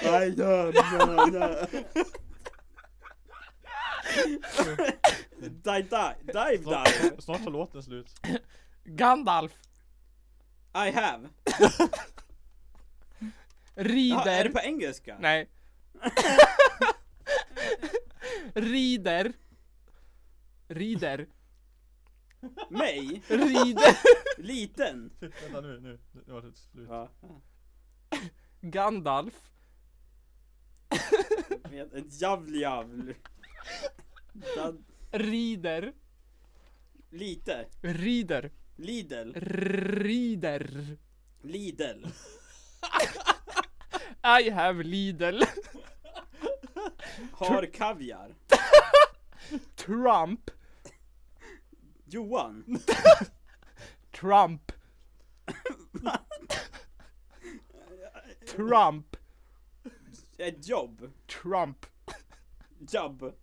Aj, ja, ja, ja. Dive, dive, dive, dive.
Snart, snart tar låten slut.
Gandalf.
I have. Ja, är det
Rider.
på engelska?
Nej. Rider. Rider.
Mig?
Rider.
Liten?
Vänta nu, nu. Nu var det slut.
Ja.
Gandalf.
Med ett javl javl. Da-
Rider.
Lite.
Rider.
Lidl.
Rider.
Lidl.
I have Lidl.
Har kaviar.
Trump.
Johan.
Trump. Trump.
Ett jobb.
Trump.
Jobb.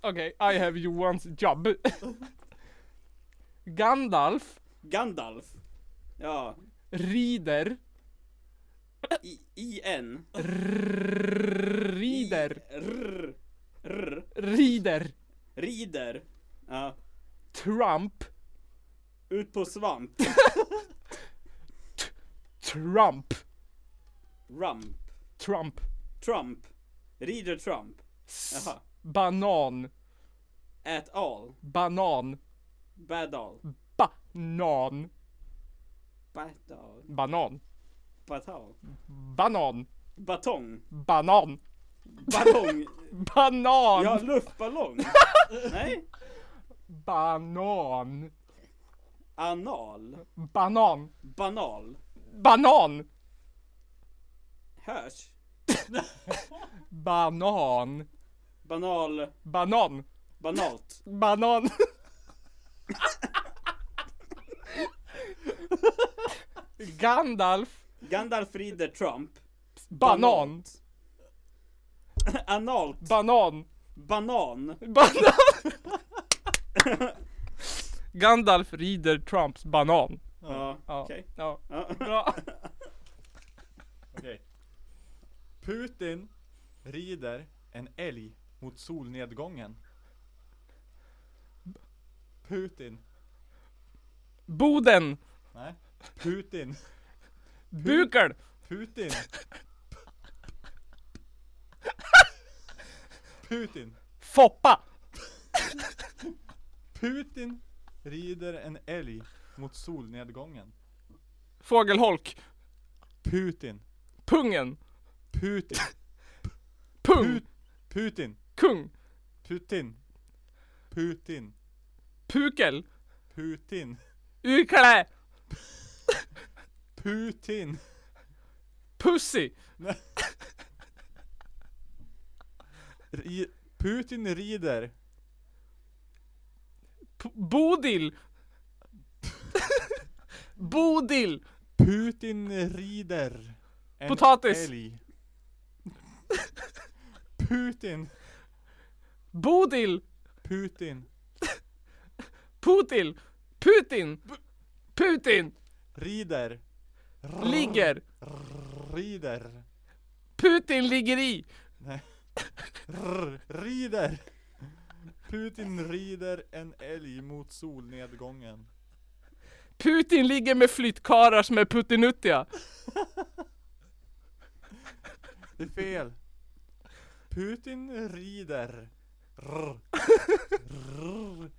Okej, I have Johans jobb. Gandalf
Gandalf. Ja.
rider.
I, i en.
Rider.
Rr. Rr.
Rider.
Rider. Ja.
Trump.
Ut på svamp.
Trump.
Rump.
Trump.
Trump. Rider Trump.
S-
Jaha.
banan.
At all.
Banan.
Bad all.
Banan.
Bad all.
Banan.
Bad all.
Banan.
Batong.
Banan.
Ballong.
Banan.
Ja, luftballong. Nej.
Banan.
Anal.
Banan.
Banal.
Banan.
Hörs.
Banan.
Banal.
Banan.
Banalt.
Banan. Gandalf.
Gandalf rider Trump.
Banan.
Analt.
Banan.
Banan.
Banan. Gandalf rider Trumps banan.
Ja,
Ja.
okej.
Ja,
Ja.
bra.
Okej. Putin rider en älg mot solnedgången. Putin.
Boden.
Nej. Putin.
Bukel.
Putin. Putin.
Foppa.
Putin rider en älg mot solnedgången.
Fågelholk.
Putin.
Pungen.
Putin.
Pung.
Put, Putin.
Kung.
Putin. Putin.
Pukel.
Putin.
Ykle.
Putin.
Pussy.
Nej. Ri- Putin rider.
P- Bodil. Bodil.
Putin rider. En
Potatis.
Älg. Putin.
Bodil.
Putin.
Putil. Putin. Putin.
Rider.
Ligger.
Rider.
Putin ligger i.
Nej. R- rider. Putin rider en älg mot solnedgången.
Putin ligger med flyttkarlar som är puttinuttiga.
Det är fel. Putin rider. R- r-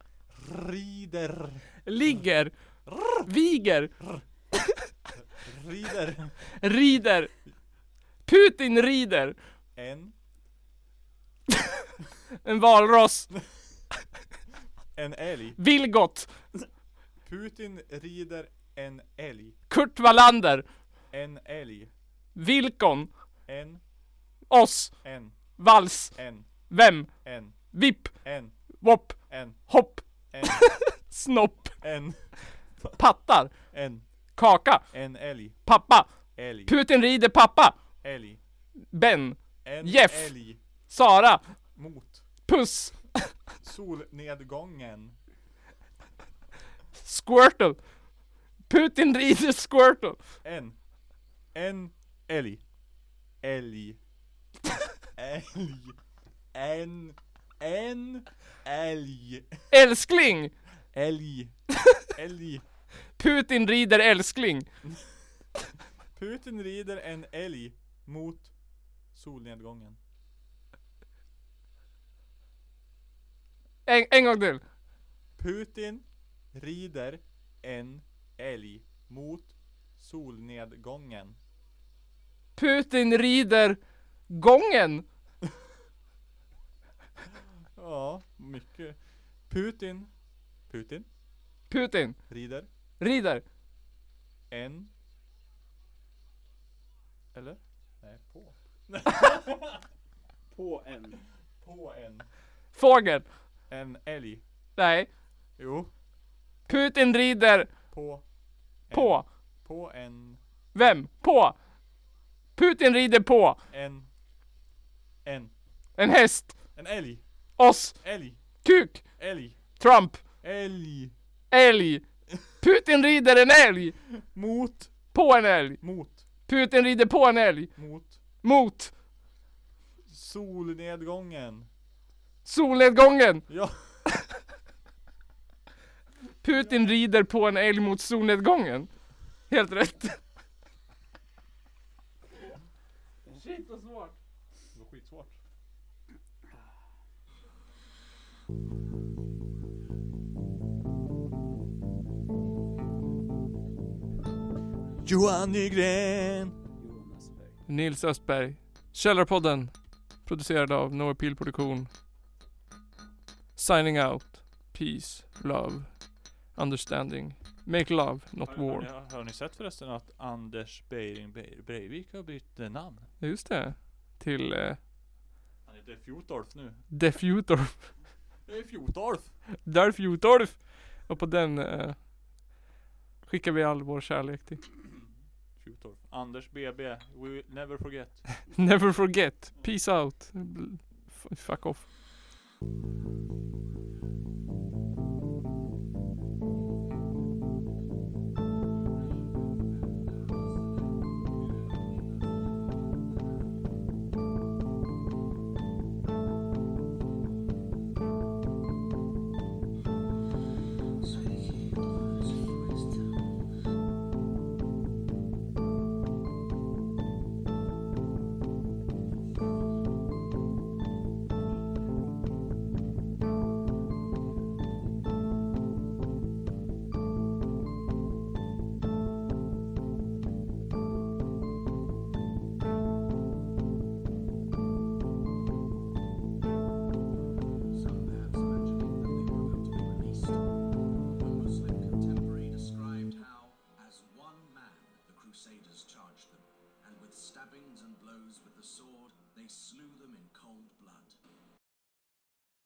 rider.
Ligger. Viger.
Rider.
Rider. Putin rider.
En.
En valross.
En älg.
Vilgot.
Putin rider en älg.
Kurt Wallander.
En älg.
Vilkon.
En.
Oss.
En.
Vals.
En.
Vem.
En.
Vipp.
En.
Wopp.
En.
Hopp.
En.
Snopp.
En.
Pattar.
En.
Kaka.
En älg.
Pappa.
Älg.
Putin rider pappa.
Älg.
Ben.
En
Jeff.
älg.
Sara.
Mot.
Puss.
Solnedgången.
Squirtle. Putin rider Squirtle.
En. En älg. Älg. Älg. En. En älg.
Älskling.
Älg. Älg.
Putin rider älskling.
Putin rider en älg mot solnedgången.
En, en gång till.
Putin rider en älg mot solnedgången.
Putin rider gången.
Ja, mycket. Putin. Putin
Putin
rider
rider.
en. Eller? Nej, på.
På en.
På en.
Fågel.
En älg.
Nej.
Jo.
Putin rider
På. En.
på.
På en.
Vem? På. Putin rider på.
En. En.
En häst.
En älg.
Oss.
Älg.
Kuk.
Älg.
Trump.
Älg.
Älg. Putin rider en älg.
Mot.
På en älg.
Mot.
Putin rider på en älg.
Mot.
Mot.
Solnedgången.
Solnedgången.
Ja.
Putin rider på en älg mot solnedgången. Helt rätt. Shit vad svårt.
Det var skitsvårt. Johan Nygren!
Jonas Berg.
Nils Östberg. Källarpodden. Producerad av No Appeal Produktion. Signing out. Peace, love, understanding. Make love, not war.
Har, har ni sett förresten att Anders Beiring Be- Breivik har bytt eh, namn?
Just det. Till eh,
Han heter Fjotolf nu.
Def Jutolf.
Det är Fjotolf!
Darf Jutolf. Och på den eh, skickar vi all vår kärlek till.
Futorp. Anders BB, we will never forget.
Never forget. Peace out. Bl- f- Fuck off.
Some maps mentioning that they were about to be released. One Muslim contemporary described how, as one man, the Crusaders charged them, and with stabbings and blows with the sword, they slew them in cold